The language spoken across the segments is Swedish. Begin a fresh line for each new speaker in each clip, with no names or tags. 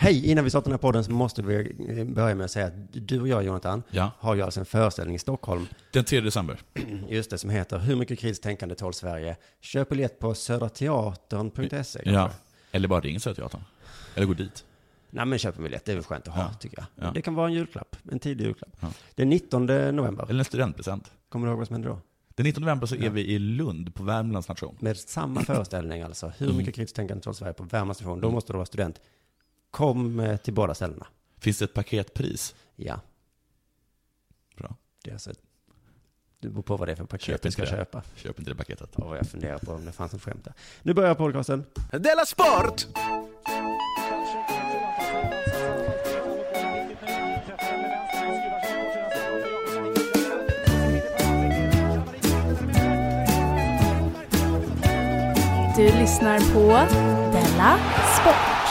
Hej! Innan vi startar den här podden så måste vi eh, börja med att säga att du och jag, Jonathan,
Ja. Mm.
har ju alltså en föreställning i Stockholm,
Den 3 december.
just det, som heter Hur mycket kritiskt tänkande tål Sverige? Köp biljett på södrateatern.se E, kanske?
Ja. Eller bara ring Söderteatern. Eller gå dit.
Nej men köp en biljett, det är väl skönt att ha, tycker jag.
Ja.
Det kan vara en julklapp, en tidig julklapp.
Ja.
Den 19 november,
Eller en studentpresent.
kommer du ihåg vad som hände då?
Den 19 november så är vi i Lund på Värmlands nation.
Med samma föreställning alltså,
Mm.
Hur mycket kritiskt tänkande tål Sverige på Värmlands station? Då måste du vara student. Kom eh, till båda ställena.
Finns det ett paketpris?
Ja,
Bra.
det är alltså... Det beror på vad det är för paket
Köp
du
inte
ska
det.
köpa.
Köp inte det paketet.
Ja, jag funderar på om det fanns en skämt där. Nu börjar podcasten.
Della Sport!
Du lyssnar på Della Sport.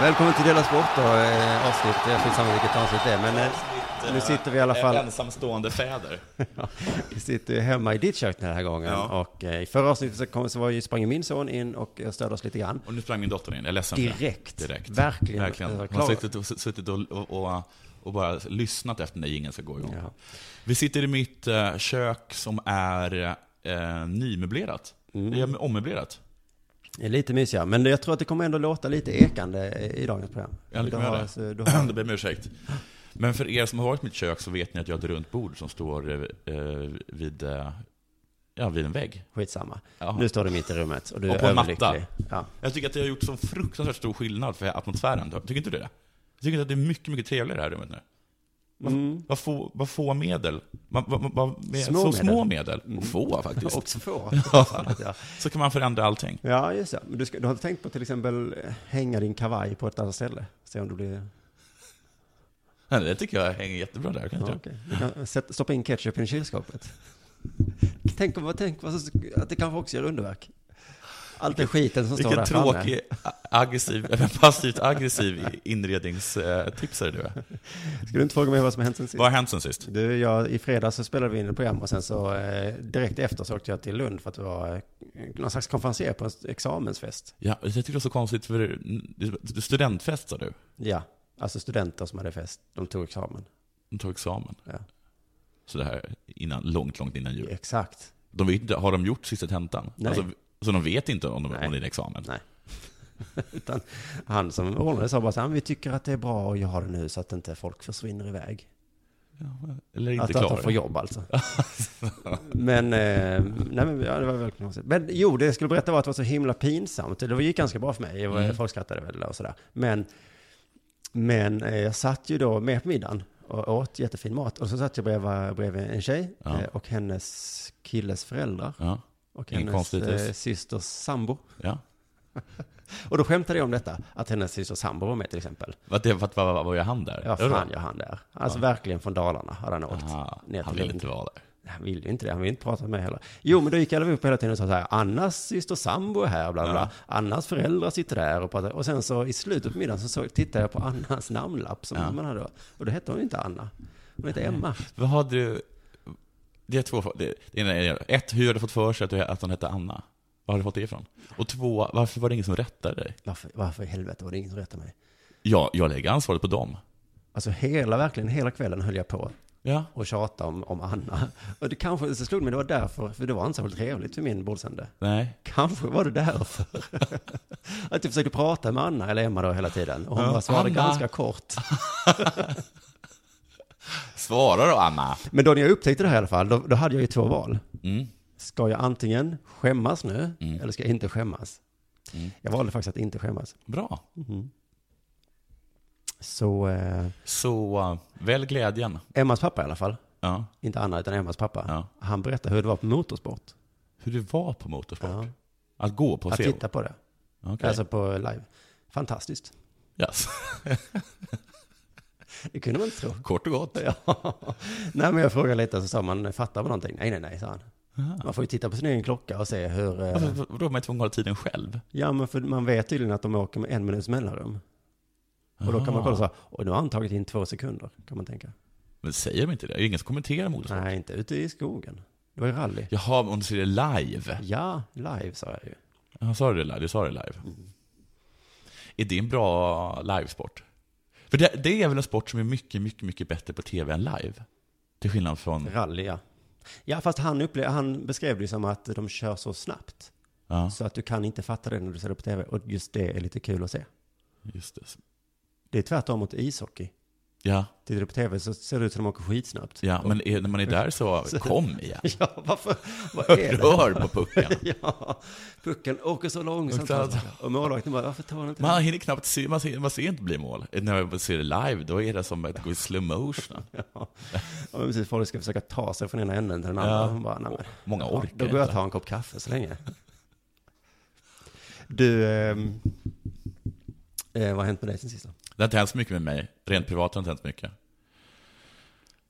Välkommen till Dela Sport då, eh, avsnitt. Jag finns samma vilket avsnitt det är, men eh, nu sitter vi i
eh,
alla fall
Ensamstående fäder.
vi sitter ju hemma i ditt kök den här gången.
Ja.
Och eh, i förra avsnittet så, kom, så var ju, sprang ju min son in och eh, stödde oss lite grann.
Och nu sprang min dotter in. Jag är ledsen för det.
Direkt.
Direkt.
Verkligen.
Verkligen. Hon har
Klar.
suttit och, suttit och, och, och, och bara lyssnat efter när jingeln ska gå igång.
Ja.
Vi sitter i mitt eh, kök som är eh, nymöblerat.
Mm.
Det är ommöblerat.
Det är lite mysigare, men jag tror att det kommer ändå låta lite ekande eh, i dagens program.
Ja, det
Du
kommer
har
jag
alltså-
det.
du
Då
har-
ber jag om ursäkt. Men för er som har varit i mitt kök så vet ni att jag har ett runt bord som står eh, eh, vid, eh, ja, vid en vägg.
Skitsamma.
Ja.
Nu står du mitt i rummet och du
Och
är
på en
överlycklig.
matta.
Ja.
Jag tycker att det har gjort så fruktansvärt stor skillnad för atmosfären. Tycker inte du det? Jag tycker att det är mycket, mycket trevligare i det här rummet nu. Vad, vad, få, vad få medel. Vad, vad, vad, vad, med,
Mm. Små
så
medel. Mm.
små medel. Få faktiskt.
Också få. Ja.
så kan man förändra allting.
Ja, just det. Men du, ska, du har inte tänkt på till exempel eh, hänga din kavaj på ett annat ställe? Se om du blir...
Nej, Det tycker jag hänger jättebra där. Kan
Ja,
ja,
okej. Du kan sätta, stoppa in ketchup i kylskåpet. Tänk, om, tänk vad, som- att det kanske också gör underverk. Allt den skiten som står där
Vilken
framme.
tråkig, a- aggressiv, eller passivt aggressiv inredningstipsare du är.
Ska du inte fråga mig vad som har hänt sen sist?
Vad har hänt sen sist?
Du, jag, i fredags så spelade vi in ett program och sen så eh, direkt efter så åkte jag till Lund för att det var eh, någon slags konferenser på en examensfest.
Ja, jag tycker det var så konstigt, för det- studentfest sa du?
Ja, alltså studenter som hade fest, de tog examen.
De tog examen.
Ja.
Så det här innan, långt, långt innan jul.
Exakt.
De vet inte, har de gjort sista tentan?
Nej.
Alltså, så de vet inte om, de,
Nej.
om det är en examen?
Nej. Utan han som ordnade sa bara så här, "Men vi tycker att det är bra att göra det nu så att inte folk försvinner iväg.
Eller är inte
Att,
klara?
att de får jobb alltså. men, eh, nej men ja, det var väldigt konstigt. Men jo, det jag skulle berätta var att det var så himla pinsamt. Det gick ganska bra för mig, Jag var-
Mm.
folk skrattade väl och sådär. Men, men eh, jag satt ju då med på middagen och åt jättefin mat. Och så satt jag bredvid, bredvid en tjej
Ja.
eh, och hennes killes föräldrar.
Ja.
Och
Ingen
hennes
konstigt,
eh,
yes.
systers sambo.
ja.
Och då skämtade jag om detta, att hennes systers sambo var med till exempel.
Vad, det, vad, vad, vad, vad gör han där?
Ja,
Gör
fan
det?
gör han där. Alltså verkligen från Dalarna hade han åkt.
Aha,
ner till
han vill
Lund.
inte vara där.
Han ville ju inte det, han ville inte prata med mig heller. Jo, men då gick jag upp hela tiden och sa så här, Annas syster sambo är här, bla bla, bla. Annas föräldrar sitter där och pratar. Och sen så i slutet på middagen så, så tittade jag på Annas namnlapp som man hade då. Och då hette hon ju inte Anna. Hon hette Emma.
Vad har du... Det är två frågor. Det, det ena är, ett, hur har du fått för sig att, du, att hon hette Anna? Var har du fått det ifrån? Och två, varför var det ingen som rättade dig?
Varför, varför i helvete var det ingen som rättade mig?
Ja, jag lägger ansvaret på dem.
Alltså hela, verkligen hela kvällen höll jag på
Ja.
och tjata om, om Anna. Och det kanske, så slog mig, det var därför, för det var inte särskilt trevligt för min bordsände.
Nej.
Kanske var det därför. att jag försökte prata med Anna, eller Emma då, hela tiden. Och hon bara svarade
Anna.
ganska kort.
Svara då, Anna.
Men då när jag upptäckte det här i alla fall, då, då hade jag ju två val.
Mm.
Ska jag antingen skämmas nu, eller ska jag inte skämmas?
Mm.
Jag valde faktiskt att inte skämmas.
Bra.
Så eh,
Så eh, välj glädjen.
Emmas pappa i alla fall,
Ja.
inte Anna utan Emmas pappa,
Ja.
han berättade hur det var på motorsport.
Hur det var på motorsport.
Ja.
Att gå på
Att
CO.
titta på det,
Okej.
alltså på live. Fantastiskt.
Yes.
Det kunde man inte tro.
Kort och gott.
Ja. Nej, men jag frågade lite så sa man, fattar man någonting? Nej, nej, nej, sa han. Man får ju titta på sin egen klocka och se hur... eh,
Varför- Då är Alltså, man tvungen att hålla tiden själv.
Ja, men för man vet tydligen att de åker med en minuts mellanrum. Och då kan man kolla så här, och nu har han tagit in två sekunder, kan man tänka.
Men säger de inte det? Är det ingen som kommenterar motorsport?
Nej, inte ute i skogen. Det var ju rally.
Jaha, men om du ser det live?
Ja, live sa jag ju.
Ja, sa du det live? Du sa det live.
Mm.
Är det en bra livesport? För det, det är väl en sport som är mycket, mycket, mycket bättre på tv än live? Till skillnad från...
Rally, ja. Ja, fast han, upple- han beskrev det ju som att de kör så snabbt.
Ja,
Så att du kan inte fatta det när du ser det på tv. Och just det är lite kul att se.
just det.
Det är tvärtom mot ishockey.
Ja,
Tittar du på tv så ser det ut som att de åker skitsnabbt.
ja men är, när man är där så, kom igen.
Ja, varför? Vad är det?
Rör på pucken.
Ja, pucken åker så långsamt.
Långsamt.
Och målvakten bara, varför tar han inte den?
Man hinner knappt se, man ser, man ser inte bli mål. När man ser det live, då är det som att gå i slow motion.
Ja, Ja, men precis. Folk ska försöka ta sig från ena änden till den andra.
Ja.
Hon bara, nej, men,
Många orkar
då går jag och
inte.
tar en kopp kaffe så länge. Du, ehm, eh, vad har hänt med dig sen sist då?
Det har inte hänt så mycket med mig. Rent privat har det inte hänt så mycket.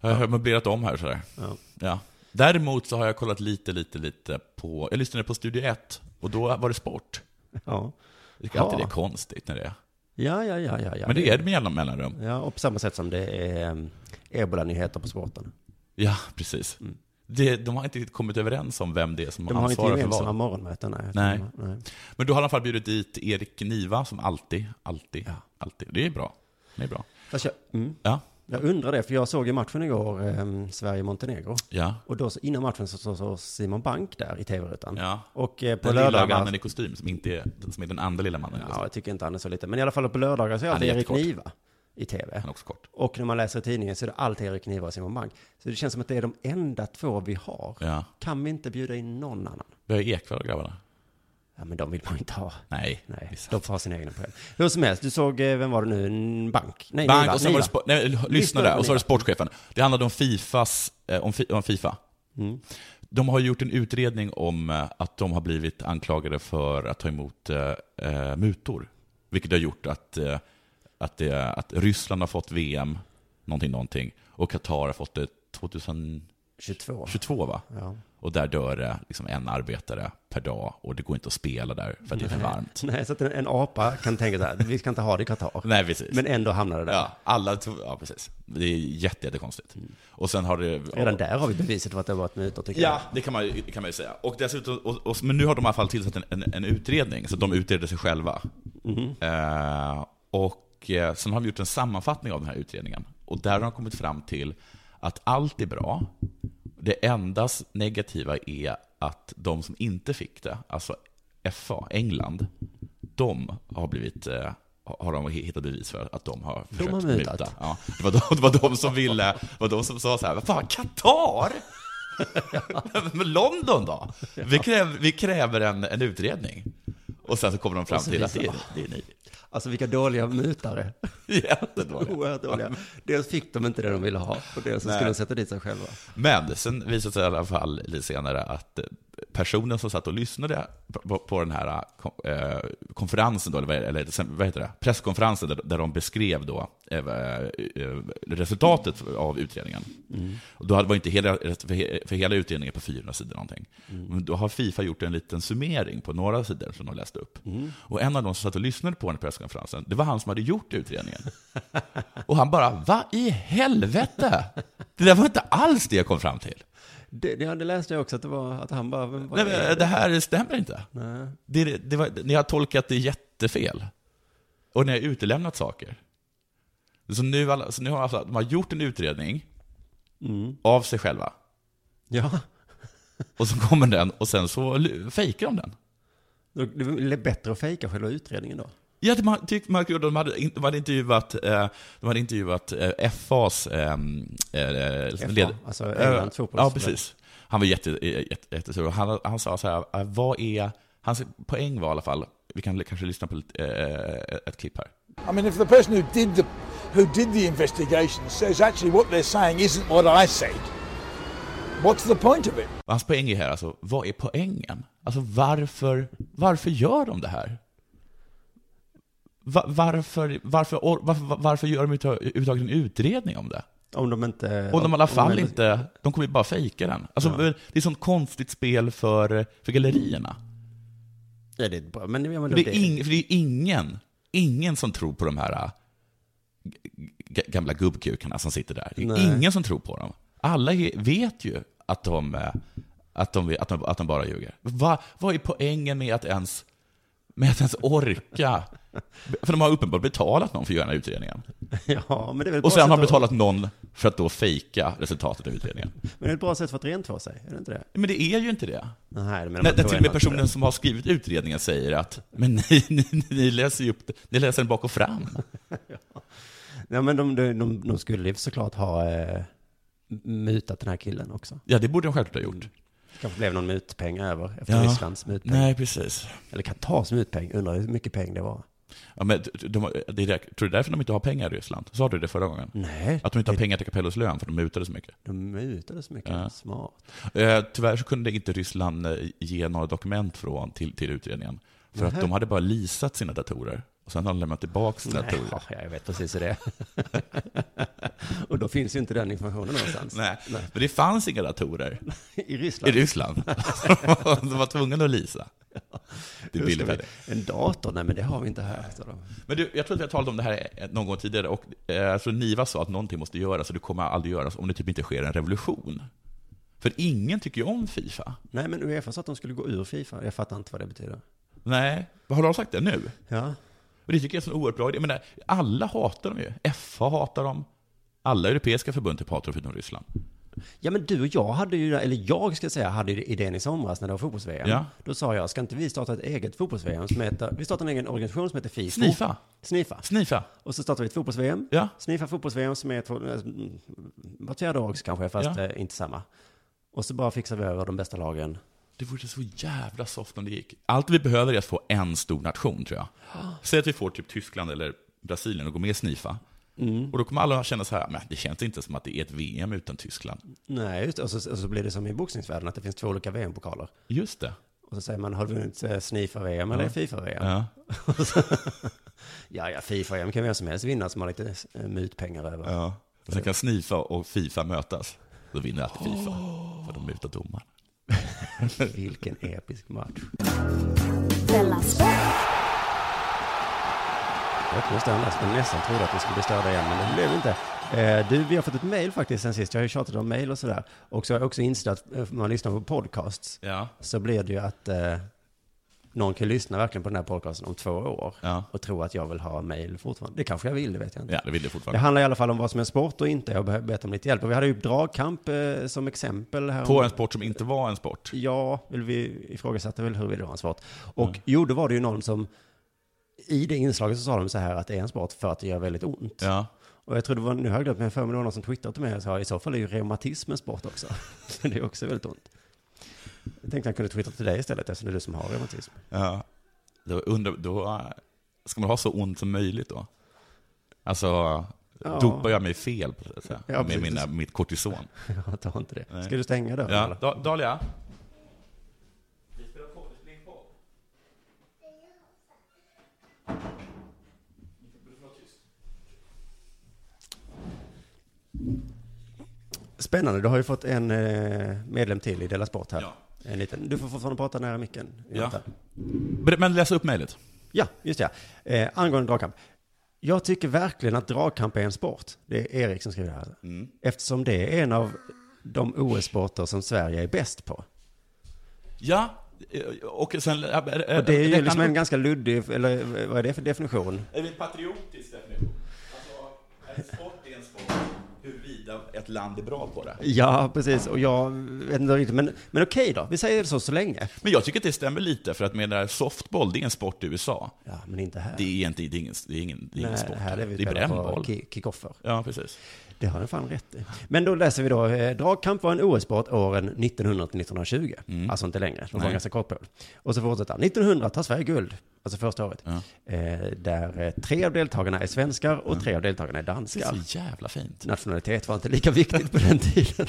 Jag har möblerat om här sådär.
Ja.
Ja. Däremot så har jag kollat lite, lite, lite på... Jag lyssnade på Studio 1 och då var det sport.
Ja,
Jag tycker alltid
Ja.
det är konstigt när det är.
ja, ja, ja. ja, ja.
Men det är det med jämna mellanrum.
Ja, och på samma sätt som det är ehm, ebola-nyheter på sporten.
Ja, precis. Det, de har inte riktigt kommit överens om vem det är som
Mm. De har inte
ansvarar för
gemensamma
vad.
morgonmöten.
Nej.
nej.
Men då har de i alla fall bjudit dit Erik Niva som alltid, alltid, alltid. Det är bra. Det är bra.
Fast jag, mm,
Ja,
jag undrar det, för jag såg ju matchen igår, ehm, Sverige-Montenegro.
ja.
Och då så innan matchen så så- så Simon Bank där i tv-rutan.
Ja.
Och eh, på
Den lilla
lördagar...
mannen i kostym som, inte är, som är den andra lilla mannen. i
Ja,
kostym.
jag tycker inte han är så liten. Men i alla fall på lördagar så är det
Han är
alltid Erik
jättekort.
Niva i tv.
Han är också kort.
Och när man läser i tidningen så är det alltid Erik Niva och Simon Bank. Så det känns som att det är de enda två vi har.
Ja.
Kan vi inte bjuda in någon annan?
Vi har ju Ekwall och grabbarna.
Ja, men de vill man inte ha.
Nej. det är
Nej,
sant.
de får ha sin egen poäng. Hur som helst, du såg, eh, vem var det nu? N- Bank? Nej,
Bank
Niva.
och sen var det
Niva.
sport, nej, lyssna
Lyssna
där,
på
och så var det
Niva.
sportchefen. Det handlade om Fifas, eh, om, Fi- om Fifa.
Mm.
De har gjort en utredning om eh, att de har blivit anklagade för att ta emot eh, eh, mutor. Vilket har gjort att, eh, att, det, att Ryssland har fått VM, någonting, någonting, och Qatar har fått det 2022
22.
va?
Ja.
Och där dör det liksom en arbetare per dag och det går inte att spela där för att det är för varmt.
Nej, så att en, en apa kan tänka så här, vi ska inte ha det i Qatar.
Nej, precis.
Men ändå hamnar det där.
Ja, alla tog, ja precis. Det är jätte, jättekonstigt. Och sen har det...
Redan där har vi beviset för att det har varit mutor, tycker
Ja, det kan man ju, det kan man ju säga. Och dessutom, och, och, men nu har de i alla fall tillsatt en, en, en utredning, så de utreder sig själva. Eh, och eh, sen har vi gjort en sammanfattning av den här utredningen. Och där har de kommit fram till att allt är bra. Det enda negativa är att de som inte fick det, alltså FA, England, de har blivit eh, har de hittat bevis för att de har försökt
har mutat.
muta. Ja, det, var de, det var de som ville, det var de som sa så här, vad fan, Qatar? Men London då? Vi kräver, vi kräver en, en utredning. Och sen så kommer de fram
så
till att det är,
visar-
det är ni.
jag. Alltså vilka dåliga mutare.
Jättedåliga.
Oerhört dåliga. Dels fick de inte det de ville ha och dels så skulle de sätta dit sig själva.
Men sen visade det sig i alla fall lite senare att eh, personen som satt och lyssnade på, på den här eh, kon- eh, konferensen, då, eller, vad- eller sen- vad heter det? presskonferensen, där, där de beskrev då, eh, eh, resultatet av utredningen. Och då hade- var inte hela, för, he- för hela utredningen på 400 sidor någonting. Men då har Fifa gjort en liten summering på några sidor som de läste upp. Och en av de som satt och lyssnade på den här presskonferensen, det var han som hade gjort utredningen. Och han bara, vad i helvete? Det där var inte alls det jag kom fram till.
Det, det, ja, det läste jag också att det var att han bara... Vad
Nej,
är det?
men eh, det här stämmer inte. Det, det, det var, ni har tolkat det jättefel. Och ni har utelämnat saker. Så nu, alla, så nu har alltså, de har gjort en utredning, av sig själva.
Ja,
Och så kommer den och sen så l- fejkar de den.
då- det är väl bättre att fejka själva utredningen då.
Ja, det man, tyck, man, de, hade, in- de hade intervjuat, eh, de hade intervjuat eh, FAs eh, eh,
FA,
led-
alltså Englands
Ja,
fotbollsförbund.
precis. Han var jätte, eh, jätte, jättesur. Och Han, han sa så här, eh, vad är... Hans poäng var i alla fall, vi kan l- kanske lyssna på lite, eh, ett klipp här.
I mean, if the person who did the who did the investigation says actually what they're saying isn't what I said, what's the point of it?
Och hans poäng är här alltså, vad är poängen? Alltså varför, varför gör de det här? Va, varför, varför, or- varför, varför gör de överhuvudtaget- överhuvudtaget en utredning om det?
Om de inte...
Och de i alla fall
de-
inte, de kommer ju bara fejka den. Alltså, Det är ett sånt konstigt spel för, för gallerierna.
Ja, det är bra. Men, ja, men
För det, är ing, för det är ingen, ingen som tror på de här äh, g- gamla gubbkukarna som sitter där. Det är
Nej.
ingen som tror på dem. Alla är- vet ju att de, äh, att de, att de, att de bara ljuger. Va, vad är poängen med att ens, med att ens orka? För de har uppenbarligen betalat någon för att göra den här utredningen.
Ja, men det är väl ett bra
Och sen har
sätt
de betalat någon för att då fejka resultatet av utredningen.
Att, men det är ett bra sätt för att rentvå sig, är det inte det?
Men det är ju inte det.
Nej, men de
När, när
tror
till och
ändå
med
inte
personen som har skrivit utredningen säger att men ni, ni, ni läser ju upp det, ni läser den bak och fram.
det. Nej, men de, de, de, de skulle ju såklart ha eh, mutat den här killen också.
Ja, det borde de självklart ha gjort.
kanske blev någon mutpeng över efter
Ja.
Rysslands mutpeng.
Nej, precis.
Eller Katars mutpeng, undrar hur mycket peng det var.
Ja, men de, de, det är där, tror du det är därför de inte har pengar i Ryssland? Sa du det förra gången?
Nej,
Att de inte har pengar till Capellos lön för de mutade så mycket.
de mutade så mycket. Smart.
Eh, tyvärr så kunde inte Ryssland eh, ge några dokument från till, till utredningen. För att de hade bara leasat sina datorer. Och sen har de lämnat tillbaka sina
Nej,
datorer.
ja, jag vet precis hur det är. Och då finns ju inte den informationen någonstans.
Nej, men det fanns inga datorer
I
i
Ryssland.
Ryssland. de var tvungna att leasa. Det är
Hur ska
billigt.
vi- En dator? Nej, men det har vi inte här. sa de.
Men du, jag tror att jag talade om det här någon gång tidigare, och eh, jag tror Niva sa att någonting måste göras, och det kommer aldrig göras om det typ inte sker en revolution. För ingen tycker ju om Fifa.
Nej, men Uefa sa att de skulle gå ur Fifa. Jag fattar inte vad det betyder.
Nej, har de sagt det nu?
Ja.
Och det tycker jag är en sån oerhört bra idé. Men nej, alla hatar dem ju. FA hatar dem. Alla europeiska förbund typ hatar dem förutom Ryssland.
Ja men du och jag hade ju, eller jag ska säga, hade ju idén i somras när det var fotbolls-VM.
Ja.
Då sa jag, ska inte vi starta ett eget fotbolls-VM som heter, vi startar en egen organisation som heter FIFO.
Snifa.
Snifa.
Snifa.
Och så startar vi ett fotbolls-VM.
Ja.
Snifa fotbolls-VM som är två, mm, vart fjärde år också kanske, fast
Ja.
eh, inte samma. Och så bara fixar vi över de bästa lagen.
Det vore så jävla soft om det gick. Allt vi behöver är att få en stor nation, tror jag. Säg att vi får typ Tyskland eller Brasilien och går med i Snifa. Och då kommer alla känna så här, men det känns inte som att det är ett VM utan Tyskland.
Nej, just det. och så, och så blir det som i boxningsvärlden, att det finns två olika VM-pokaler.
Just det.
Och så säger man, har du vunnit eh, Snifa-VM eller Fifa-VM?
Ja.
Och så- ja, ja, Fifa-VM kan vem som helst vinna som har lite eh, mutpengar över.
ja. Och sen kan Snifa och Fifa mötas. Då vinner alltid Fifa. För de mutar domaren.
Vilken episk match.
Della Sport.
Jag kunde stanna där, men nästan trodde att vi skulle bli störda igen, men det blev vi inte. Eh, du, vi har fått ett mejl faktiskt sen sist. Jag har ju tjatat om mejl och sådär. Och så har jag också insett att eh, när man lyssnar på podcasts
Ja.
så blir det ju att eh, någon kan lyssna verkligen på den här podcasten om två år
Ja.
och tro att jag vill ha mejl fortfarande. Det kanske jag vill, det vet jag inte.
Ja, det vill jag
Det
fortfarande.
handlar i alla fall om vad som är sport och inte. Jag har bett om lite hjälp. Och vi hade ju dragkamp eh, som exempel här.
På en sport som inte var en sport.
Ja, eller vi ifrågasatte väl huruvida det var en sport. Och
Mm.
jo, då var det ju någon som, i det inslaget så sa de så här att det är en sport för att det gör väldigt ont.
Ja.
Och jag tror det var, nu har jag glömt, men jag har för mig det var någon som twittrade till mig och sa i så fall är ju reumatism en sport också. För det är också väldigt ont. Jag tänkte jag kunde twittra till dig istället eftersom det är du som har reumatism.
ja. Då, undrar, då äh, ska man ha så ont som möjligt då? Alltså,
Ja.
dopar jag mig fel på det, så här,
Ja,
med
precis.
mina, mitt kortison?
Jag tar inte det.
Nej.
Ska du stänga dörren
Ja,
eller?
Da- Dahlia?
Spännande, du har ju fått en eh, medlem till i Della Sport här.
Ja.
En liten. Du får fortfarande prata nära micken.
Ja. Ber- Men läs upp mejlet.
Ja, just det. Eh, angående dragkamp. Jag tycker verkligen att dragkamp är en sport. Det är Erik som skriver det här.
Mm.
Eftersom det är en av de OS-sporter som Sverige är bäst på.
Ja, eh, och sen... äh, äh,
Och det är ju
räkna
liksom
med-
en ganska luddig, eller vad är det för definition?
Det är en patriotisk definition. Alltså, en sport är en sport huruvida ett land är bra på det.
Ja, precis. Och jag vet inte riktigt, men, men okej då. Vi säger så så länge.
Men jag tycker att det stämmer lite, för att med det här softball, det är en sport i USA.
Ja, men inte här.
Det är, inte, det är ingen, det är ingen, det är ingen
Nej,
sport.
här är vi
det är
spelare på
brännboll.
ki- kickoffer.
Ja, precis.
Det har du fan rätt i. Men då läser vi då, eh, dragkamp var en OS-sport åren 1900 till 1920. Alltså inte längre, de var
Nej.
ganska kort på det. Och så fortsätter han. 1900 tar Sverige guld, alltså första året. Eh, där eh, tre av deltagarna är svenskar och tre av deltagarna är
Det är
danskar.
så jävla fint.
Nationalitet var inte lika viktigt på den tiden.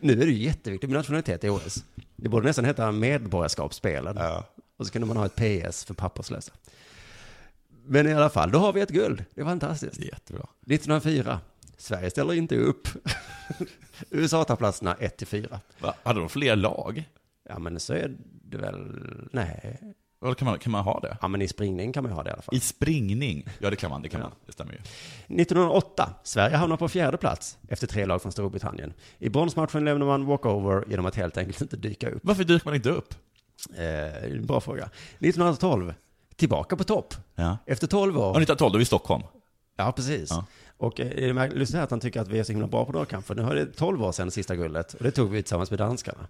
nu är det ju jätteviktigt med nationalitet i OS. Det borde nästan heta medborgarskapsspelen. Och så kunde man ha ett PS för papperslösa. Men i alla fall, då har vi ett guld. Det är fantastiskt.
Det är jättebra.
1904. Sverige ställer inte upp. USA tar platserna 1-4.
Va? Hade de fler lag?
Ja, men så är det väl... Nej.
Vad Kan man, kan man ha det?
Ja, men i springning kan man ju ha det i alla fall.
I springning? Ja, det kan man. Det, kan man. det stämmer ju.
1908. Sverige hamnar på fjärde plats efter tre lag från Storbritannien. I bronsmatchen lämnar man walkover genom att helt enkelt inte dyka upp.
Varför dyker man inte upp?
Eh, bra fråga. 1912. Tillbaka på topp.
Ja.
Efter 12
Ja,
år.
1912, då är vi i Stockholm.
Ja, precis.
Ja.
Och eh, är det märkligt- lustigt här att han tycker att vi är så himla bra på dragkamp, för nu har det 12 år sedan sista guldet, och det tog vi tillsammans med danskarna.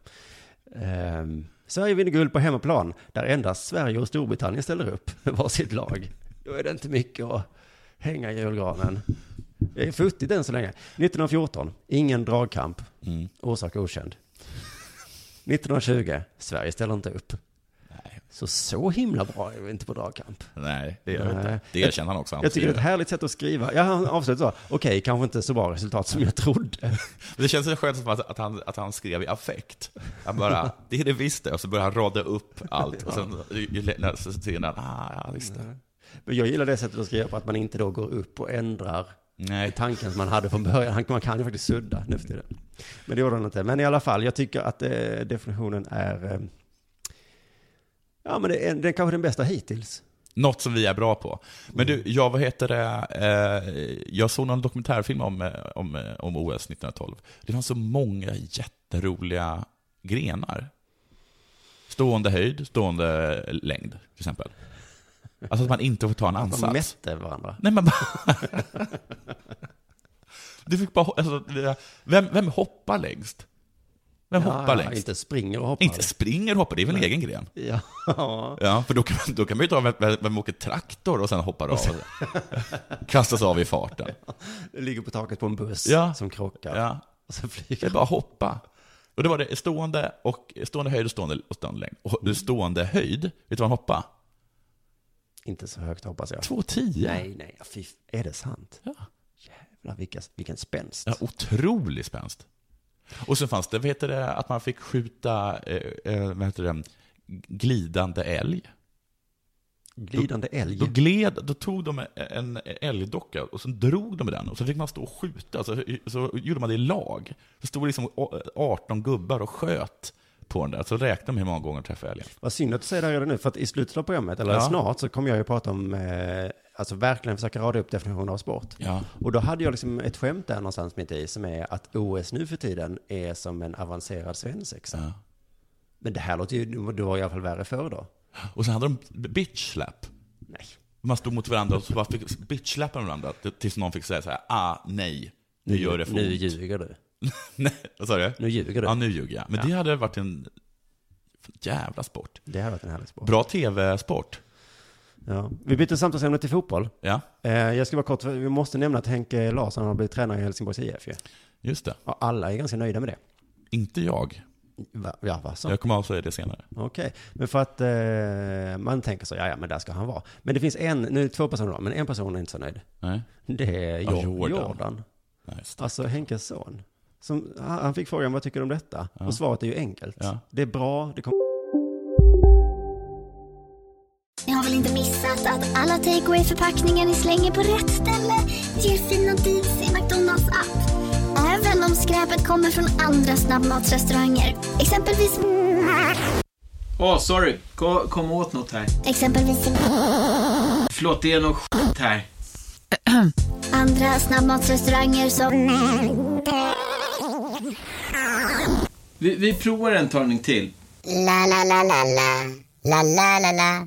Ehm, Sverige vinner guld på hemmaplan, där endast Sverige och Storbritannien ställer upp med varsitt lag. Då är det inte mycket att hänga i julgranen. Jag är futtigt än så länge. 1914, ingen dragkamp. Orsak okänd. 1920, Sverige ställer inte upp. Så så himla bra är vi inte på dragkamp.
Nej, det gör vi
Nej.
inte. Det erkänner han också. Han
Jag tycker det är ett
skriver.
härligt sätt att skriva. Ja, han avslutar så. Okej, kanske inte så bra resultat som jag trodde.
Det känns så skönt som att, att, han, att han skrev i affekt. Han bara, det är det visst det, och så börjar han rada upp allt. Och sen ju- ju lä- så ser han, ah, ja visst det.
Men jag gillar det sättet att skriva på, att man inte då går upp och ändrar
Nej,
tanken som man hade från början. Han- Man kan ju faktiskt sudda nu för tiden. Men det gjorde han inte. Men i alla fall, jag tycker att eh, definitionen är... Eh, ja, men det är, det är kanske den bästa hittills.
något som vi är bra på. Men du, jag, vad heter det, eh, jag såg någon dokumentärfilm om, eh, om, eh, om OS 1912. Det fanns så många jätteroliga grenar. Stående höjd, stående längd, till exempel. Alltså att man inte får ta en
De
ansats.
mätte varandra.
Nej men bara... Du fick bara... Alltså, det- vem, vem hoppar längst? Vem
Ja,
hoppar
ja,
längst? Inte,
Inte springer och hoppar.
springer och hoppar, det är väl en egen gren?
Ja.
Ja, för då kan, man- då kan man ju ta vem, vem, vem åker traktor och sen hoppar av. kastas av i farten.
Ligger på taket på en buss
Ja.
som krockar.
Ja,
Och så
det
flyger
är bara att hoppa. Och det var det stående, och, stående höjd och stående, och stående längd.
Mm.
Och stående höjd, vet du vad han hoppade?
Inte så högt hoppas jag.
2,10.
Nej, nej, fy, är det sant?
Ja.
Jävlar vilka, vilken spänst.
Ja, otrolig spänst. Och så fanns det, vad heter det, att man fick skjuta, eh, eh, vad heter det, glidande älg.
Glidande älg.
Då gled, då tog de en älgdocka och så drog de med den och så fick man stå och skjuta, så, så gjorde man det i lag. Så stod det liksom å- 18 gubbar och sköt på den där, så räknade de hur många gånger de träffade älgen.
Vad synd att du säger det här redan nu, för att i slutet av programmet, eller
Ja.
snart, så kommer jag ju prata om, eh, alltså verkligen försöka rada upp definitioner av sport.
Ja.
Och då hade jag liksom ett skämt där någonstans mitt i, som är att OS nu för tiden är som en avancerad svensexa.
Ja.
Men det här låter ju, det var i alla fall värre förr då.
Och så hade de bitch slap.
Nej.
Man stod mot varandra och så bara fick bitch slappa varandra tills någon fick säga så här, ah, nej, nu gör det för
Nu
ont.
ljuger du.
Nej, vad sa du?
Nu ljuger du.
Ja, nu ljuger jag. Men
Ja.
det hade varit en jävla sport.
Det här har varit en härlig sport.
Bra tv-sport.
Ja. Vi byter samtalsämne till fotboll.
Ja,
Eh, jag ska vara kort, för vi måste nämna att Henke Larsson har blivit tränare i Helsingborgs IF ju.
just det.
Ja, alla är ganska nöjda med det.
Inte jag.
Va? Ja, va? Så.
Jag kommer avslöja det senare.
Okej, men för att eh, man tänker så, ja ja, men där ska han vara. Men det finns en, nu är det två personer då, men en person är inte så nöjd.
Nej.
Det är
Ja,
Jor- Jordan.
Jordan. Nej, st-
Alltså Henkes son. Som, han han fick frågan, vad tycker du om detta? Och svaret är ju enkelt.
Ja.
Det är bra, det kommer
Ni har väl inte missat att alla takeaway förpackningar ni slänger på rätt ställe ger fina deals i McDonalds app. Även om skräpet kommer från andra snabbmatsrestauranger. Exempelvis...
Åh, sorry. Kom, kom åt något här.
Exempelvis...
Förlåt, det är något skit här.
Andra snabbmatsrestauranger som...
Vi, vi provar en talning till.
La, la, la, la, la. La, la, la, la.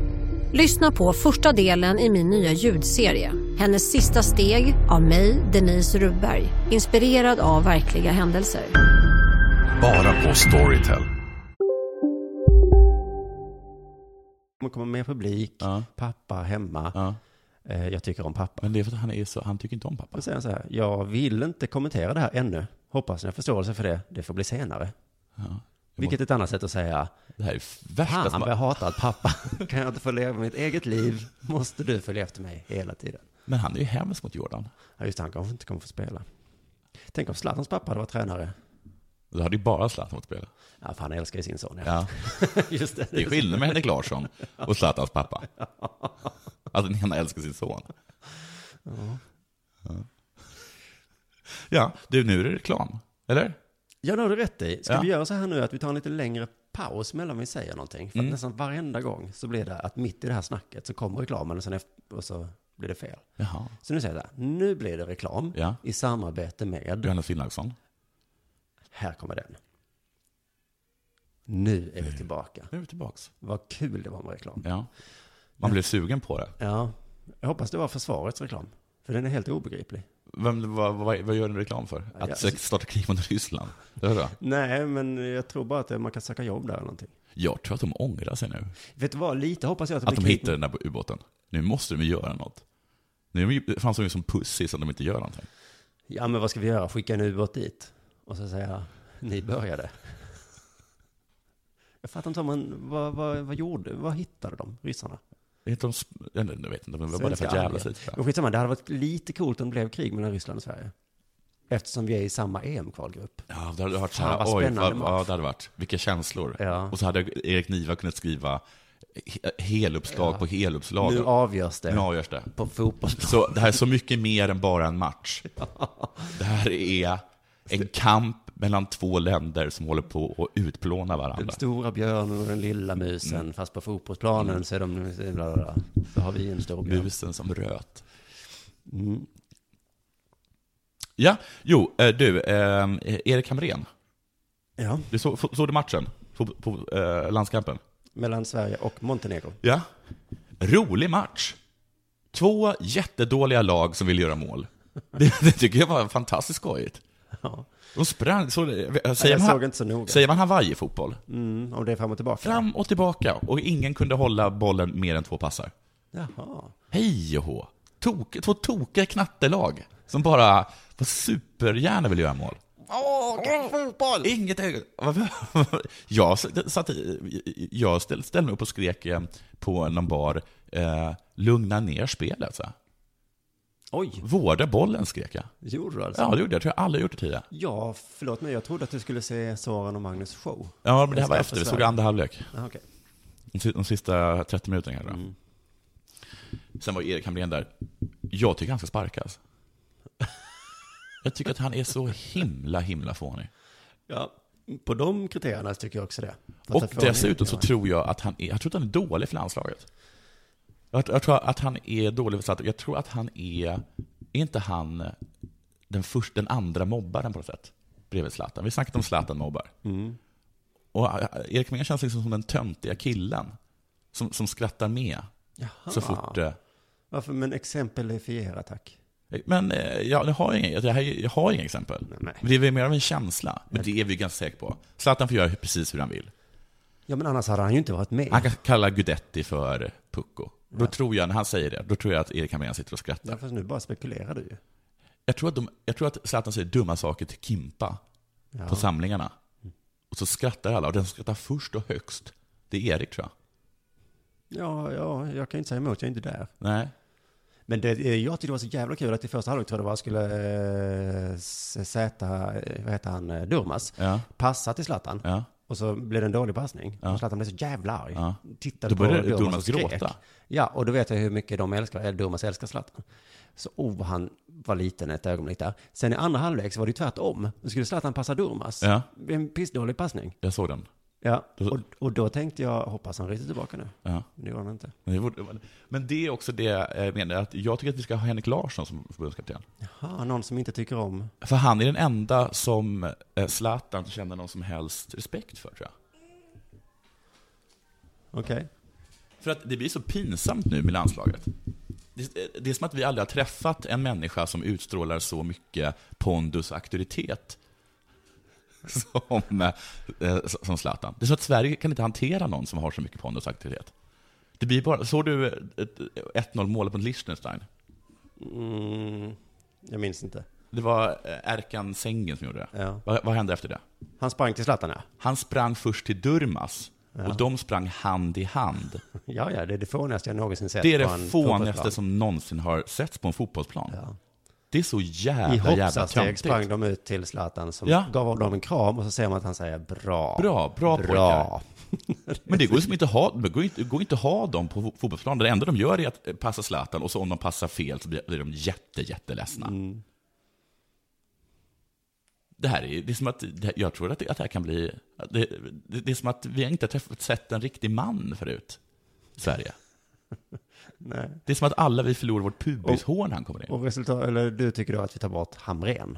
Lyssna på första delen i min nya ljudserie. Hennes sista steg av mig, Denise Rubberg. Inspirerad av verkliga händelser.
Bara på Storytel.
kommer komma mer publik, pappa hemma. Eh, Jag tycker om pappa.
Men det är för att han, är så, han tycker inte om pappa.
Då säger han så här, jag vill inte kommentera det här ännu. Hoppas ni har förståelse för det. Det får bli senare. Vilket är ett annat sätt att säga,
det här är värsta
fan
som-
vad jag hatar att pappa, kan jag inte få leva mitt eget liv? Måste du följa efter mig hela tiden?
Men han är ju hemsk mot Jordan.
Ja, just det, han kanske inte kommer få spela. Tänk om Zlatans pappa hade varit tränare.
Då hade ju bara Zlatan fått spela.
Ja, för han älskar ju sin son.
Ja.
Just det.
det är skillnad med Henrik Larsson och Zlatans pappa. Att den ena älskar sin son.
Ja.
Ja, du, nu är det reklam. Eller?
Ja, det har du rätt i. Ska
Ja.
vi göra så här nu att vi tar en lite längre paus mellan vi säger någonting? För att
Mm.
nästan varenda gång så blir det att mitt i det här snacket så kommer reklamen och, sen efter, och så blir det fel.
Jaha.
Så nu säger jag så här, nu blir det reklam
Ja.
i samarbete med...
Johannes Finnlaugsson.
Här kommer den. Nu är vi tillbaka.
Nu är vi tillbaka.
Vad kul det var med reklam.
Ja. Man blev sugen på det.
Ja, jag hoppas det var försvarets reklam. För den är helt obegriplig.
Vem, vad, vad, vad gör en reklam för? Att
Ja.
starta krig mot Ryssland? Det var bra.
Nej, men jag tror bara att man kan söka jobb där eller någonting.
Jag tror att de ångrar sig nu.
Vet du vad, lite hoppas jag att det
Att de
blir krig-
hittar den där ubåten. Nu måste de ju göra något. Nu är de ju- fanns de ju som pussis om de inte gör någonting.
Ja, men vad ska vi göra? Skicka en ubåt dit? Och så säga, ni började. Jag fattar inte, men vad, vad, vad gjorde, vad hittade de, ryssarna?
Heter de... sp- Jag vet inte, de var bara där för att jävla sig. tror jag.
Men skitsamma, det hade varit lite coolt om det blev krig mellan Ryssland och Sverige. Eftersom vi är i samma EM-kvalgrupp.
Ja, det hade varit så
Fan,
här,
vad
oj,
spännande
vad, ja,
match.
det hade varit, vilka känslor. Och så hade Erik Niva kunnat skriva he- heluppslag
Ja.
på heluppslag.
Nu avgörs det.
Nu avgörs det.
På fotbollsplan.
Så det här är så mycket mer än bara en match. Det här är en kamp mellan två länder som håller på att utplåna varandra.
Den stora björnen och den lilla musen,
Mm.
fast på fotbollsplanen så är de... Bla bla bla. Så har vi en stor björn.
Musen som röt.
Mm.
Ja, jo, eh, du, eh, Erik Hamrén.
Ja.
Du såg, såg du matchen? På, på eh, landskampen?
Mellan Sverige och Montenegro.
Ja. Rolig match. Två jättedåliga lag som vill göra mål. Det, det tycker jag var fantastiskt skojigt.
Ja.
De sprang, så, säger,
jag
man,
såg inte så noga.
säger man Hawaii-fotboll?
Mm, och det är fram och tillbaka.
Fram och tillbaka, och ingen kunde hålla bollen mer än två passar.
Jaha.
Hej och hå! Tok, två tokiga knattelag som bara på supergärna vill göra mål.
Åh, fotboll!
Inget ögon. Jag, s- satt, i- jag ställ- ställde mig upp och skrek eh, på någon bar, eh, lugna ner spelet. Så. här.
Oj.
Vårda bollen skrek jag.
Gjorde du alltså?
Ja, det gjorde jag. Jag tror jag aldrig gjort det tidigare.
Ja, förlåt mig. Jag trodde att du skulle se Soran och Magnus show.
Ja, men det här var
Skaffa
efter. Vi såg
Sverige.
andra halvlek.
Ja, okej.
De si- De sista 30 minuterna kanske. Sen var Erik Hamrén där. Jag tycker han ska sparkas. Jag tycker att han är så himla, himla fånig.
Ja, på de kriterierna tycker jag också det. Fast
Och
jag får
dessutom så
ingenting,
tror jag att han är, jag tror att han är dålig för landslaget. Jag, jag tror att han är dålig för landslaget. Jag tror att han är, är inte han den, först, den andra mobbaren på något sätt? Bredvid Zlatan. Vi snackade om Zlatan mobbar. Och eh, Erik Hamrén känns liksom som den töntiga killen. Som, som skrattar med.
Jaha.
Så fort... eh,
Varför? Men exemplifiera, tack.
Men eh, jag, jag, har inga, jag, jag har inga exempel. Men Det är väl mer av en känsla. Men det är vi ganska säkra på. Zlatan får göra precis hur han vill.
Ja, men annars hade han ju inte varit med.
Han kan kalla Gudetti för Pucko. Då tror jag, när han säger det, då tror jag att Erik Hamrén sitter och skrattar.
Ja, fast nu bara spekulerar du ju.
Jag tror, att de, jag tror att Zlatan säger dumma saker till Kimpa
Ja.
på samlingarna. Och så skrattar alla, och den som skrattar först och högst, det är Erik tror jag.
Ja, ja, jag kan inte säga emot. Jag är inte där.
Nej.
Men det, eh, jag tyckte det var så jävla kul att i första halvlek tror jag det var skulle eh, S- Zäta, eh, vad heter han, eh, Durmaz,
Ja.
passa till Zlatan.
Ja.
Och så blev det en dålig passning. Och Zlatan blev så jävla arg.
Ja.
Tittade
Då
på
började
Durmaz och
Durmaz
skrek.
gråta.
Ja, och då vet jag hur mycket de älskar, eller Durmaz älskar Zlatan. Så oh, han var liten ett ögonblick där. Sen i andra halvlek så var det ju tvärtom. Då skulle Zlatan passa Durmaz.
Ja.
Det är En pissdålig passning.
Jag såg den.
Ja, och, och då tänkte jag, hoppas han ryter tillbaka nu.
Ja.
Det gjorde han inte.
Men det vore- Men det är också det jag menar, att jag tycker att vi ska ha Henrik Larsson som förbundskapten.
Jaha, någon som inte tycker om...
För han är den enda som eh, Zlatan känner någon som helst respekt för, tror jag.
Okej.
För att det blir så pinsamt nu med landslaget. Det, det är som att vi aldrig har träffat en människa som utstrålar så mycket pondus och auktoritet som, eh, som Zlatan. Det är så att Sverige kan inte hantera någon som har så mycket pondus och auktoritet. Det blir bara, såg du ett- 1-0 målet mot Liechtenstein?
Mm, jag minns inte.
Det var eh, Erkan Sängen som gjorde det. Vad, vad hände efter det?
Han sprang till Zlatan, ja.
Han sprang först till Durmaz
Ja.
och de sprang hand i hand.
Ja, ja, det är det fånigaste jag någonsin sett
Det är
på
det
en
fånigaste
fotbollsplan.
som någonsin har setts på en fotbollsplan. Det är så jävla,
I
jävla
hoppsasteg
töntigt.
sprang de ut till Zlatan som
Ja.
gav dem en kram och så ser man att han säger bra.
Bra,
bra.
bra, pojkar. Men det går ju som inte att ha, det går inte, det går inte att ha dem på fotbollsplanen. Det enda de gör är att eh, passa Zlatan och så om de passar fel så blir blir de jätte, jätteledsna.
Mm.
Det här är, det är som att, det här, jag tror att det, att det här kan bli, att det, det, det är som att vi inte har träffat, sett en riktig man förut i Sverige.
Nej.
Det är som att alla vi förlorar vårt pubishår när han kommer in.
Och resultat, eller du tycker då att vi tar bort Hamren?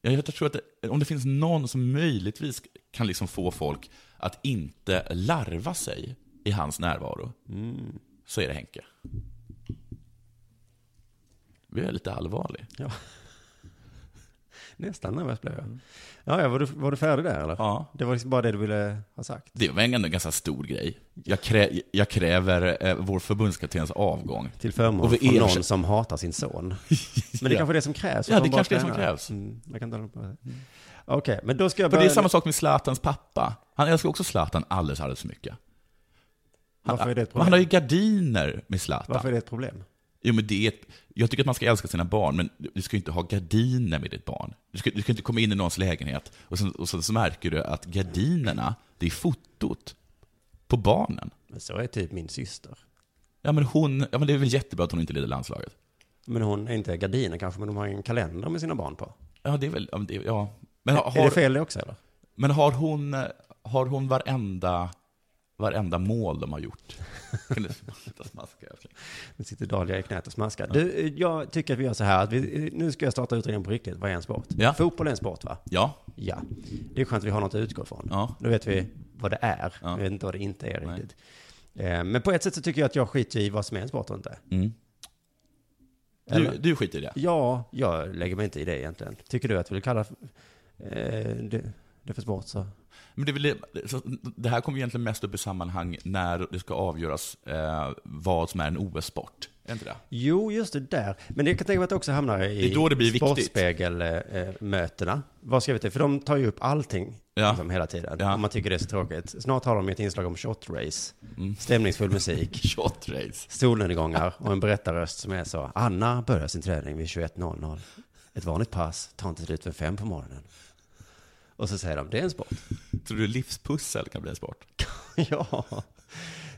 Jag jag tror att det, om det finns någon som möjligtvis kan liksom få folk att inte larva sig i hans närvaro, så är det Henke. Vi är lite allvarlig.
Ja. Nästan nervös blev jag. Ja, ja var, du, var du färdig där eller?
Mm. Ja.
Det var liksom bara det du ville ha sagt.
Det var ändå en ganska stor grej. Jag, krä, jag kräver eh, vår förbundskaptens avgång.
Till förmån
Och vi
för någon
erkänner-
som hatar sin son. Men det är
Ja.
kanske är det som krävs. för
Ja,
att
det
de bara
kanske är det som
tränar.
krävs.
Mm, jag kan ta det på. Okej, men då ska jag
För det är
börja...
samma sak med Zlatans pappa. Han älskar också Zlatan alldeles, alldeles för mycket. Han,
Varför är det ett problem?
han har ju gardiner med Zlatan.
Varför är det ett problem?
Jo, men det är ett, jag tycker att man ska älska sina barn, men du ska ju inte ha gardiner med ditt barn. Du ska, du ska inte komma in i någons lägenhet och sen, och sen så märker du att gardinerna, det är fotot på barnen.
Men så är typ min syster.
Ja, men hon, ja, men det är väl jättebra att hon inte leder landslaget.
Men hon är inte gardiner kanske, men de har en kalender med sina barn på.
Ja, det är väl, ja, men det, ja. Men
Är- är det fel det också, eller?
Men har hon, har hon varenda, varenda mål de har gjort? Kan du sluta smaska? älskling?
Nu sitter Dahlia i knät och smaskar. Du, eh, jag tycker att vi gör så här, att vi, eh, nu ska jag starta utredningen på riktigt. Vad är en sport?
Ja.
Fotboll är en sport, va?
Ja.
Ja. Det är skönt att vi har något att utgå från.
Ja.
Då vet vi vad det är. Vi vet inte vad det inte är riktigt. Eh, Men på ett sätt så tycker jag att jag skiter i vad som är en sport och inte.
Mm.
Eller?
Du, du skiter i det?
Ja, jag lägger mig inte i det egentligen. Tycker du att vi vill kalla eh, det, det för sport så?
Men det, är väl det, så det här kommer ju egentligen mest upp i sammanhang när det ska avgöras eh, vad som är en OS-sport. Är det inte det?
Jo, just det där. Men jag kan tänka mig att det också hamnar i
Det är då det blir viktigt.
Sportspegelmötena. Vad ska vi till? För de tar ju upp allting
Ja.
liksom, hela tiden. Om man tycker det är så tråkigt. Snart har de ett inslag om shotrace.
Mm.
Stämningsfull musik.
shotrace.
Solnedgångar och en berättarröst som är så. Anna börjar sin träning vid 21.00. Ett vanligt pass tar inte slut för fem på morgonen. Och så säger de, det är en sport.
Tror du livspussel kan bli en sport?
ja.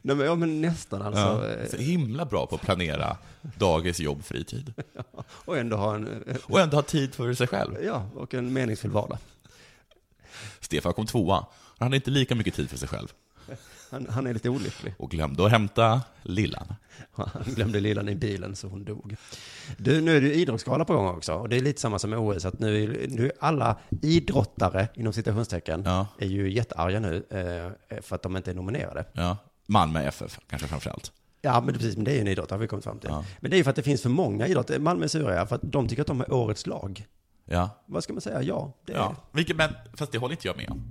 Nej, men, ja, men nästan alltså.
ja. Så himla bra på att planera dagis, jobb, fritid.
Och ändå ha en...
Och ändå ha tid för sig själv.
Ja, och en meningsfull vardag.
Stefan kom tvåa. Han hade inte lika mycket tid för sig själv.
Han, han är lite olycklig.
Och glömde att hämta lillan.
Han glömde lillan i bilen så hon dog. Du, nu är det ju idrottsgala på gång också. Och det är lite samma som med OS. Att nu, är- nu är alla idrottare, inom citationstecken, är ju jättearga nu eh, för att de inte är nominerade.
Ja. Malmö FF kanske framförallt.
Ja, men precis. Men det är ju en idrott, har vi kommit fram till. Men det är ju för att det finns för många idrotter. Malmö är sura, för att de tycker att de är årets lag.
Ja.
Vad ska man säga? Ja, det är...
ja. Vilket, men, fast det håller inte jag med om.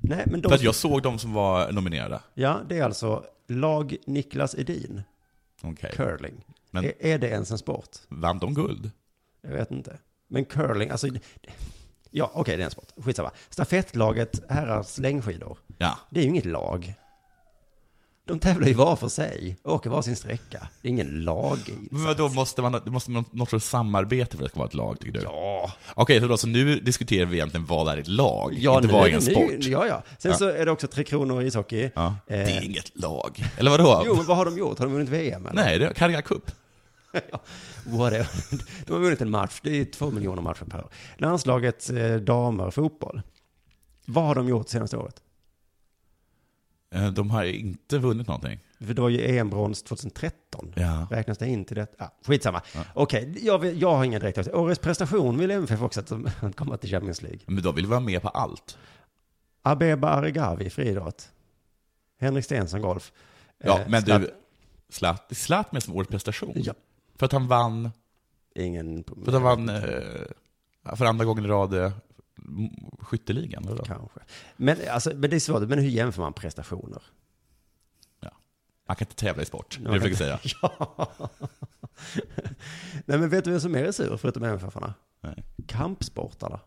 Nej, men de...
För att jag såg de som var nominerade.
Ja, det är alltså lag Niklas Edin,
Okej.
curling.
Men-
Är, är det ens en sport?
Vann de guld?
Jag vet inte. Men curling, alltså... Ja, okej, det är en sport. Skitsamma. Stafettlaget herrars längdskidor.
Ja.
Det är ju inget lag. De tävlar ju var för sig, åker var sin sträcka. Det är ingen lag i det.
Men då måste man, det måste man något sorts samarbete för att det ska vara ett lag, tycker du?
Ja.
Okej, så, då, så nu diskuterar vi egentligen vad är ett lag,
Ja,
inte
nu
vad
är
är en
det ny-
sport?
Ja, ja. Sen
Ja.
så är det också Tre Kronor i ishockey.
Ja.
Eh,
Det är inget lag. Eller vadå?
Jo, men vad har de gjort? Har de vunnit VM? Eller?
Nej, det är Carrera Cup.
ja, whatever. De har vunnit en match. Det är två miljoner matcher per år. Landslaget eh, damer fotboll. Vad har de gjort senaste året?
Eh, De har inte vunnit någonting.
För det var ju EM-brons 2013.
Ja.
Räknas det in till det? Ah, skitsamma. Okej, jag, vet- jag har ingen direkt åsikt. Årets prestation vill MFF också att de att komma till Champions League.
Men de vill vara med på allt.
Abeba Aregawi, friidrott. Henrik Stenson, golf.
Ja,
Eh,
men
Zlatan-
du, Zlat, det är Zlatan med som årets prestation. För att han vann...
Ingen...
För att han vann eh, för andra gången i rad eh, m- skytteligan. Eller?
Kanske. Men, alltså, men det är svårt, men hur jämför man prestationer?
Man kan inte tävla i sport, det är
Man
det
kan
jag försöker säga.
ja. Nej, men vet du vem som är sur förutom MFF-arna? Kampsportarna.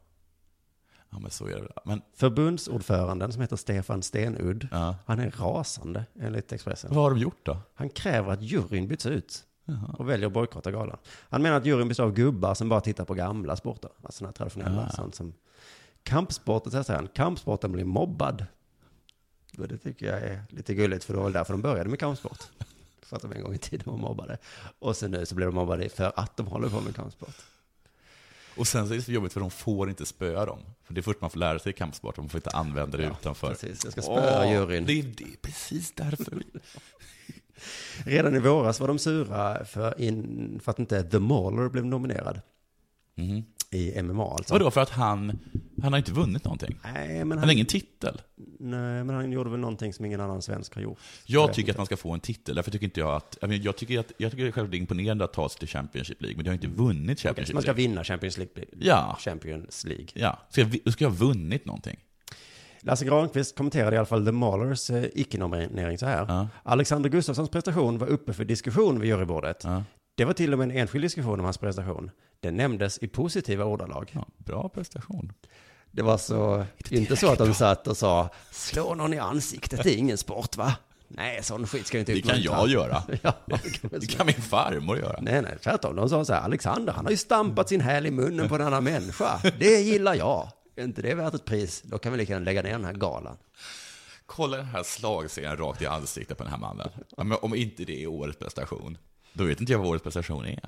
Ja, men så är det väl. Men
Förbundsordföranden som heter Stefan Stenudd, han är rasande enligt Expressen.
vad har de gjort då?
Han kräver att juryn byts ut och väljer att bojkotta galan. Han menar att juryn består av gubbar som bara tittar på gamla sporter, alltså sådana här traditionella.
Ah.
Sånt som kampsporten, så här säger han, kampsporten blir mobbad. Och det tycker jag är lite gulligt, för det var väl därför de började med kampsport. För att de en gång i tiden var mobbade. Och sen nu så blir de mobbade för att de håller på med kampsport.
Och sen så är det så jobbigt för de får inte spöa dem. För det är först man får lära sig i kampsport, man får inte använda det utanför.
precis. Jag ska spöa
Åh,
juryn.
Det är, det är precis därför.
Redan i våras var de sura för, in, för att inte The Mauler blev nominerad. I MMA alltså.
Mhm. Vadå, för att han, han har inte vunnit någonting?
Nej, men
han,
han-
har ingen titel.
Nej, men han gjorde väl någonting som ingen annan svensk har gjort.
Jag
vet
tycker att
inte.
man ska få en titel, därför tycker inte jag att... Jag, menar, jag tycker att jag tycker själv det är imponerande att ta sig till Championship League, men jag har inte vunnit Championship
Okej, så man ska
League.
vinna Champions League.
Ja.
Champions League.
Ja, ska jag, vi- då ska jag ha vunnit någonting.
Lasse Granqvist kommenterade i alla fall The Maulers eh, icke-nominering så här. Alexander Gustafssons prestation var uppe för diskussion vid jurybordet. Det var till och med en enskild diskussion om hans prestation. Den nämndes i positiva ordalag.
bra prestation.
Det var så, inte så att de satt och sa slå någon i ansiktet, det är ingen sport va? Nej, sån skit ska jag inte
Det kan
uppmuntra."
jag göra.
ja,
det kan min farmor göra.
Nej, nej, tvärtom. De sa så här, Alexander, han har ju stampat sin häl i munnen på en annan människa. Det gillar jag. Är inte det värt ett pris? Då kan vi lika gärna lägga ner den här galan.
Kolla den här slagserien rakt i ansiktet på den här mannen. Ja, men om inte det är årets prestation, då vet inte jag vad årets prestation är.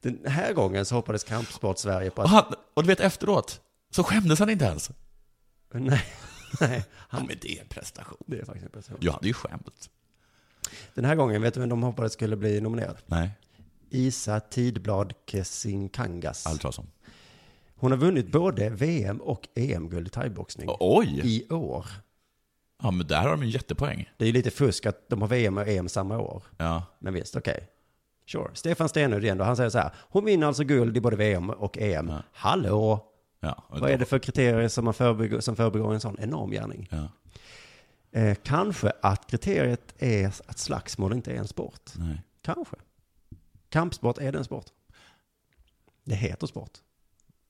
Den här gången så hoppades Kampsport-Sverige på
Och,
att...
han, och du vet efteråt, så skämdes han inte ens.
Nej, nej. Han,
Ja, men det är en prestation.
det är faktiskt en prestation.
Jag hade ju skämt.
Den här gången, vet du vem de hoppades skulle bli nominerad?
Nej,
Isa Tidblad Kesinkangas.
aldrig talas om.
Hon har vunnit både VM och EM-guld i thaiboxning.
Oh, Oj!
I år.
Ja, men där har de en jättepoäng.
Det är ju lite fusk att de har VM och EM samma år.
Ja.
Men visst, okej. Sure. Stefan Stenerud igen då, han säger så här. Hon vinner alltså guld i både VM och EM. Hallå!
Ja, och
Vad
då-
är det för kriterier som, man förbegår, som förbegår en sån enorm gärning?
Ja.
Eh, kanske att kriteriet är att slagsmål inte är en sport.
Nej.
Kanske. Kampsport, är det en sport? Det heter sport.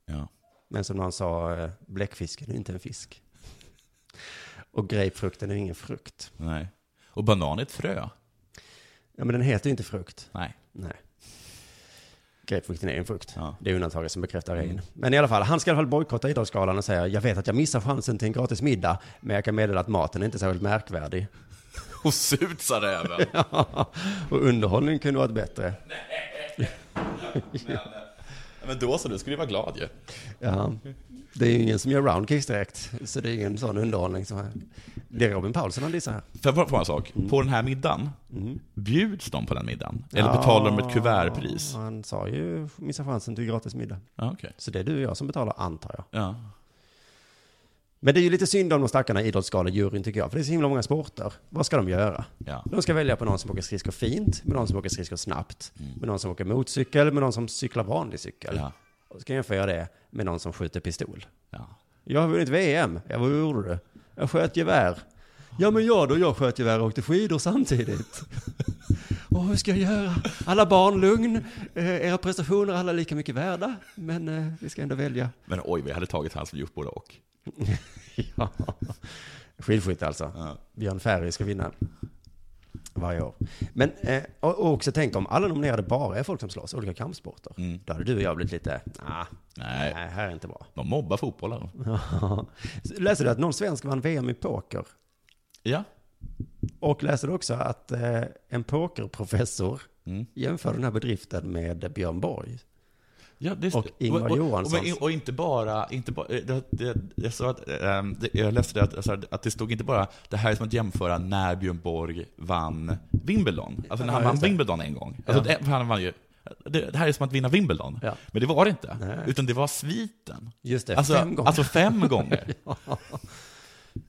Ja.
Men som någon sa, eh, bläckfisken är inte en fisk. Och grapefrukten är ingen frukt.
Nej. Och banan är ett frö.
Ja, men den heter ju inte frukt.
Nej.
Nej. Grapefrukten är ju en frukt.
Ja.
Det är undantaget som bekräftar regeln.
Mm.
Men i alla fall, han ska i alla fall bojkotta Idrottsgalan och säga jag vet att jag missar chansen till en gratis middag, men jag kan meddela att maten är inte särskilt märkvärdig.
Och surt sa räven.
och underhållningen kunde varit bättre.
Men, eh, men då så, du skulle ju vara glad ju.
Ja. Det är ju ingen som gör roundkicks direkt, så det är ingen sån underhållning som här. Det är Robin Paulsson han dissar här.
Får jag bara fråga en sak? På den här middagen, bjuds de på den middagen? Eller betalar de ett kuvertpris?
Han sa ju missa chansen till gratis middag.
Ja, okej.
Så det är du och jag som betalar, antar jag.
Ja.
Men det är ju lite synd om de stackarna i idrottsgalejuryn tycker jag, för det är så himla många sporter. Vad ska de göra?
Ja.
De ska välja på någon som åker skridskor fint, med någon som åker skridskor snabbt, med någon som åker motorcykel, med någon som cyklar vanlig cykel.
Mm. Ja.
Och så kan jag jämföra det med någon som skjuter pistol.
Ja.
Jag har vunnit VM. Ja, vad gjorde du? Jag sköt gevär. Ja, men jag då? Jag sköt gevär och åkte skidor samtidigt. Och hur ska jag göra? Alla barn, lugn. Eh, era prestationer är alla lika mycket värda. Men eh, vi ska ändå välja.
Men oj, vi hade tagit hans gjort både och.
ja. Skidskytte alltså. Björn Ferry ska vinna. varje år. Men eh, och och också tänkt om alla nominerade bara är folk som slåss, olika kampsporter. Då hade du och jag blivit lite, nah, Mm. nej, här är inte bra.
De mobbar fotbollen.
läser du att någon svensk vann VM i poker?
Ja.
Och läser du också att eh, en pokerprofessor jämför den här bedriften med Björn Borg?
Ja, det-
och Ingvar
och,
Johanssons.
Och, och, och inte bara, inte bara eh, det, det, jag, sa att, ehm, det, jag läste det att, jag sa att det stod inte bara, det här är som att jämföra när Björn Borg vann Wimbledon. Alltså när han
Ja,
vann
just det.
Wimbledon en gång. Alltså,
Ja.
det, han vann ju, det, det här är som att vinna Wimbledon. Men det var det inte. Utan det var sviten.
Just det,
alltså,
fem gånger.
Alltså fem gånger.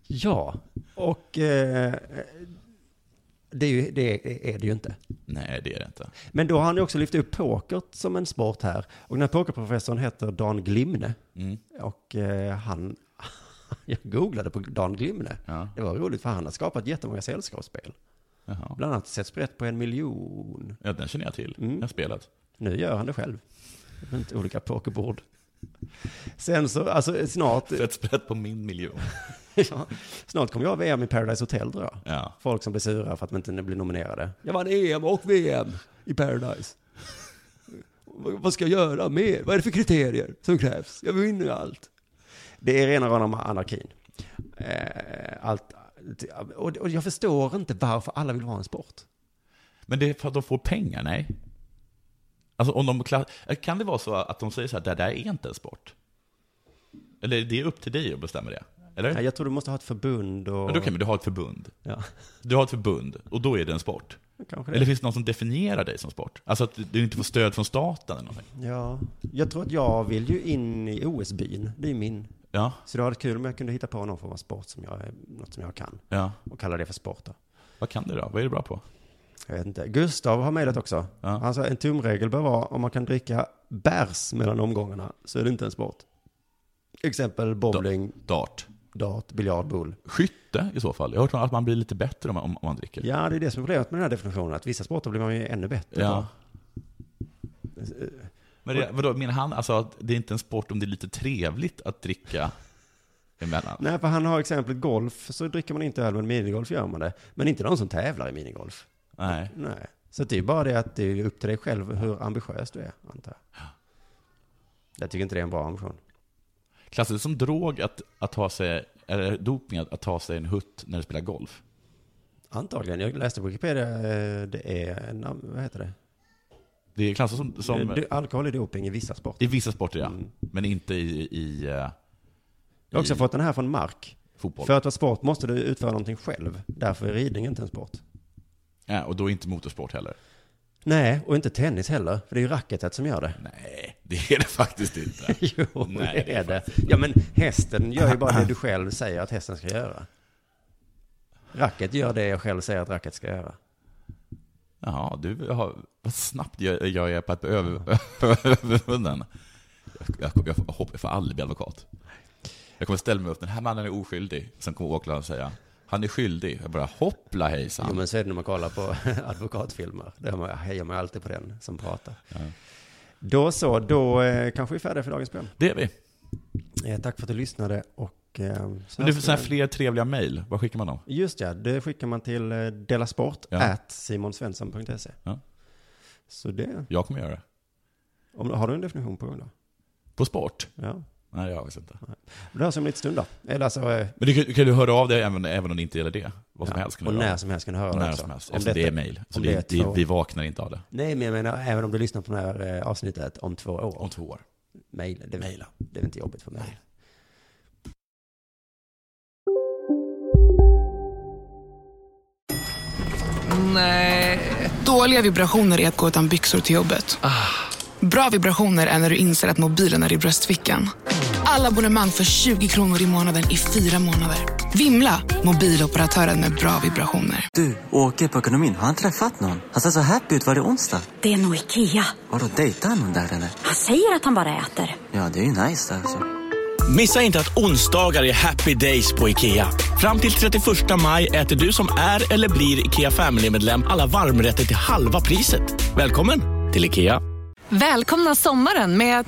Ja, och eh, det, är ju, det är det ju inte.
Nej, det är det inte.
Men då har han ju också lyft upp pokert som en sport här. Och den här pokerprofessorn heter Dan Glimne. Och eh, han, jag googlade på Dan Glimne. Det var roligt för han har skapat jättemånga sällskapsspel.
Jaha.
Bland annat Sätt sprätt på en miljon.
Ja, den känner jag till.
Mm.
Jag har spelat.
Nu gör han det själv. Runt olika pokerbord. Sen så, alltså snart...
Sätt sprätt på min miljon.
ja, snart kommer jag VM i Paradise Hotel tror jag.
Ja.
Folk som blir sura för att man inte blir nominerade. Jag vann EM och VM i Paradise. Vad vad ska jag göra mer? Vad är det för kriterier som krävs? Jag vinner ju allt. Det är rena rama anarkin. Eh, Allt, och och jag förstår inte varför alla vill ha en sport.
Men det är för att de får pengar, nej? Alltså om de kla- Kan det vara så att de säger så här, det där är inte en sport? Eller det är upp till dig att bestämma det? Eller?
Nej, Jag tror du måste ha ett förbund och...
Men då kan du ha ett förbund.
Ja.
Du har ett förbund, och då är det en sport.
Kanske det.
Eller finns det någon som definierar dig som sport? Alltså att du inte får stöd från staten eller någonting?
Ja, jag tror att jag vill ju in i OS-byn. Det är ju min.
Ja.
Så det hade varit kul om jag kunde hitta på någon form av sport som jag, något som jag kan.
Ja.
Och kalla det för sport då.
Vad kan du då? Vad är du bra på?
Jag vet inte. Gustav har mejlat också. Han sa en tumregel bör vara om man kan dricka bärs mellan omgångarna så är det inte en sport. Exempel bowling.
Dart.
Dart, biljard, boule.
Skytte i så fall. Jag har hört att man blir lite bättre om man, om man dricker.
Ja, det är det som är problemet med den här definitionen. Att vissa sporter blir man ju ännu bättre
Ja.
på.
Men det, vadå, menar han alltså att det är inte en sport om det är lite trevligt att dricka emellan?
Nej, för han har exemplet golf, så dricker man inte öl, men minigolf gör man det. Men inte någon som tävlar i minigolf.
Nej.
Nej. Så det är bara det att det är upp till dig själv hur ambitiös du är, antar jag. Jag tycker inte det är en bra ambition.
Klassas det som drog att, att ta sig, eller dopning att, att ta sig en hutt när du spelar golf?
Antagligen. Jag läste på Wikipedia, eh, det är, en- vad heter det?
Det klassas som, som
Du- Eh, Alkohol är doping i vissa sporter.
i vissa sporter ja, men inte i, i, eh,
Jag Mm. har också
i
fått den här från Mark.
fotboll.
För att vara sport måste du utföra någonting själv. Därför är ridning inte en sport.
Ja, och då inte motorsport heller.
Nej, och inte tennis heller. För det är ju racketet som gör det.
Nej, det är det faktiskt inte.
jo,
Nej,
det är det. Ja, men hästen gör ju bara det du själv säger att hästen ska göra. Racket gör det jag själv säger att racket ska göra.
Ja, du har, vad snabbt jag, jag är på att bli över- övervunnen. Jag, jag, jag, jag, hopp- jag får aldrig bli advokat. Jag kommer ställa mig upp, den här mannen är oskyldig. Sen kommer åklagaren säga, han är skyldig. Jag bara, hoppla hejsan.
Jo, men så är det när man kollar på advokatfilmer. Där man- hejar man alltid på den som pratar. Då så, då eh, kanske vi är färdiga för dagens program.
Det är vi.
Eh, tack för att du lyssnade och... Eh, så
Men det är
ska
sådana här
vi-
fler trevliga mejl. Vad skickar man dem?
Just ja, det skickar man till eh, delasport
Ja.
at simonsvensson.se.
Ja.
Så det,
Jag kommer göra det.
om, har du en definition på gång då?
På sport?
Ja.
Nej, jag vet inte.
Det hörs om en liten stund då. Eller alltså, eh,
Men du kan, kan du höra av dig även, även om det inte gäller det? Vad som
Ja,
helst kan
och
du
när som helst kan du höra det
när
också.
som helst.
Om
Eftersom det är
detta-
mejl. Så
om
vi,
det är
vi,
två-
vi vaknar inte av det.
nej men jag menar, även om du lyssnar på det här eh, avsnittet om två år.
Om två år.
Mail, det, Maila. det är väl inte jobbigt för mig.
Nej. Dåliga vibrationer är att gå utan byxor till jobbet.
Ah.
Bra vibrationer är när du inser att mobilen är i bröstfickan. Alla abonnemang för 20 kronor i månaden i fyra månader. Vimla! Mobiloperatören med bra vibrationer.
Du, åker på ekonomin. Har han träffat någon? Han ser så happy ut. Var det onsdag?
Det är nog Ikea.
Har du dejtat någon där eller?
Han säger att han bara äter.
Ja, det är ju nice alltså.
Missa inte att onsdagar är happy days på IKEA. Fram till 31 maj äter du som är eller blir IKEA Family-medlem alla varmrätter till halva priset. Välkommen till IKEA.
Välkomna sommaren med att...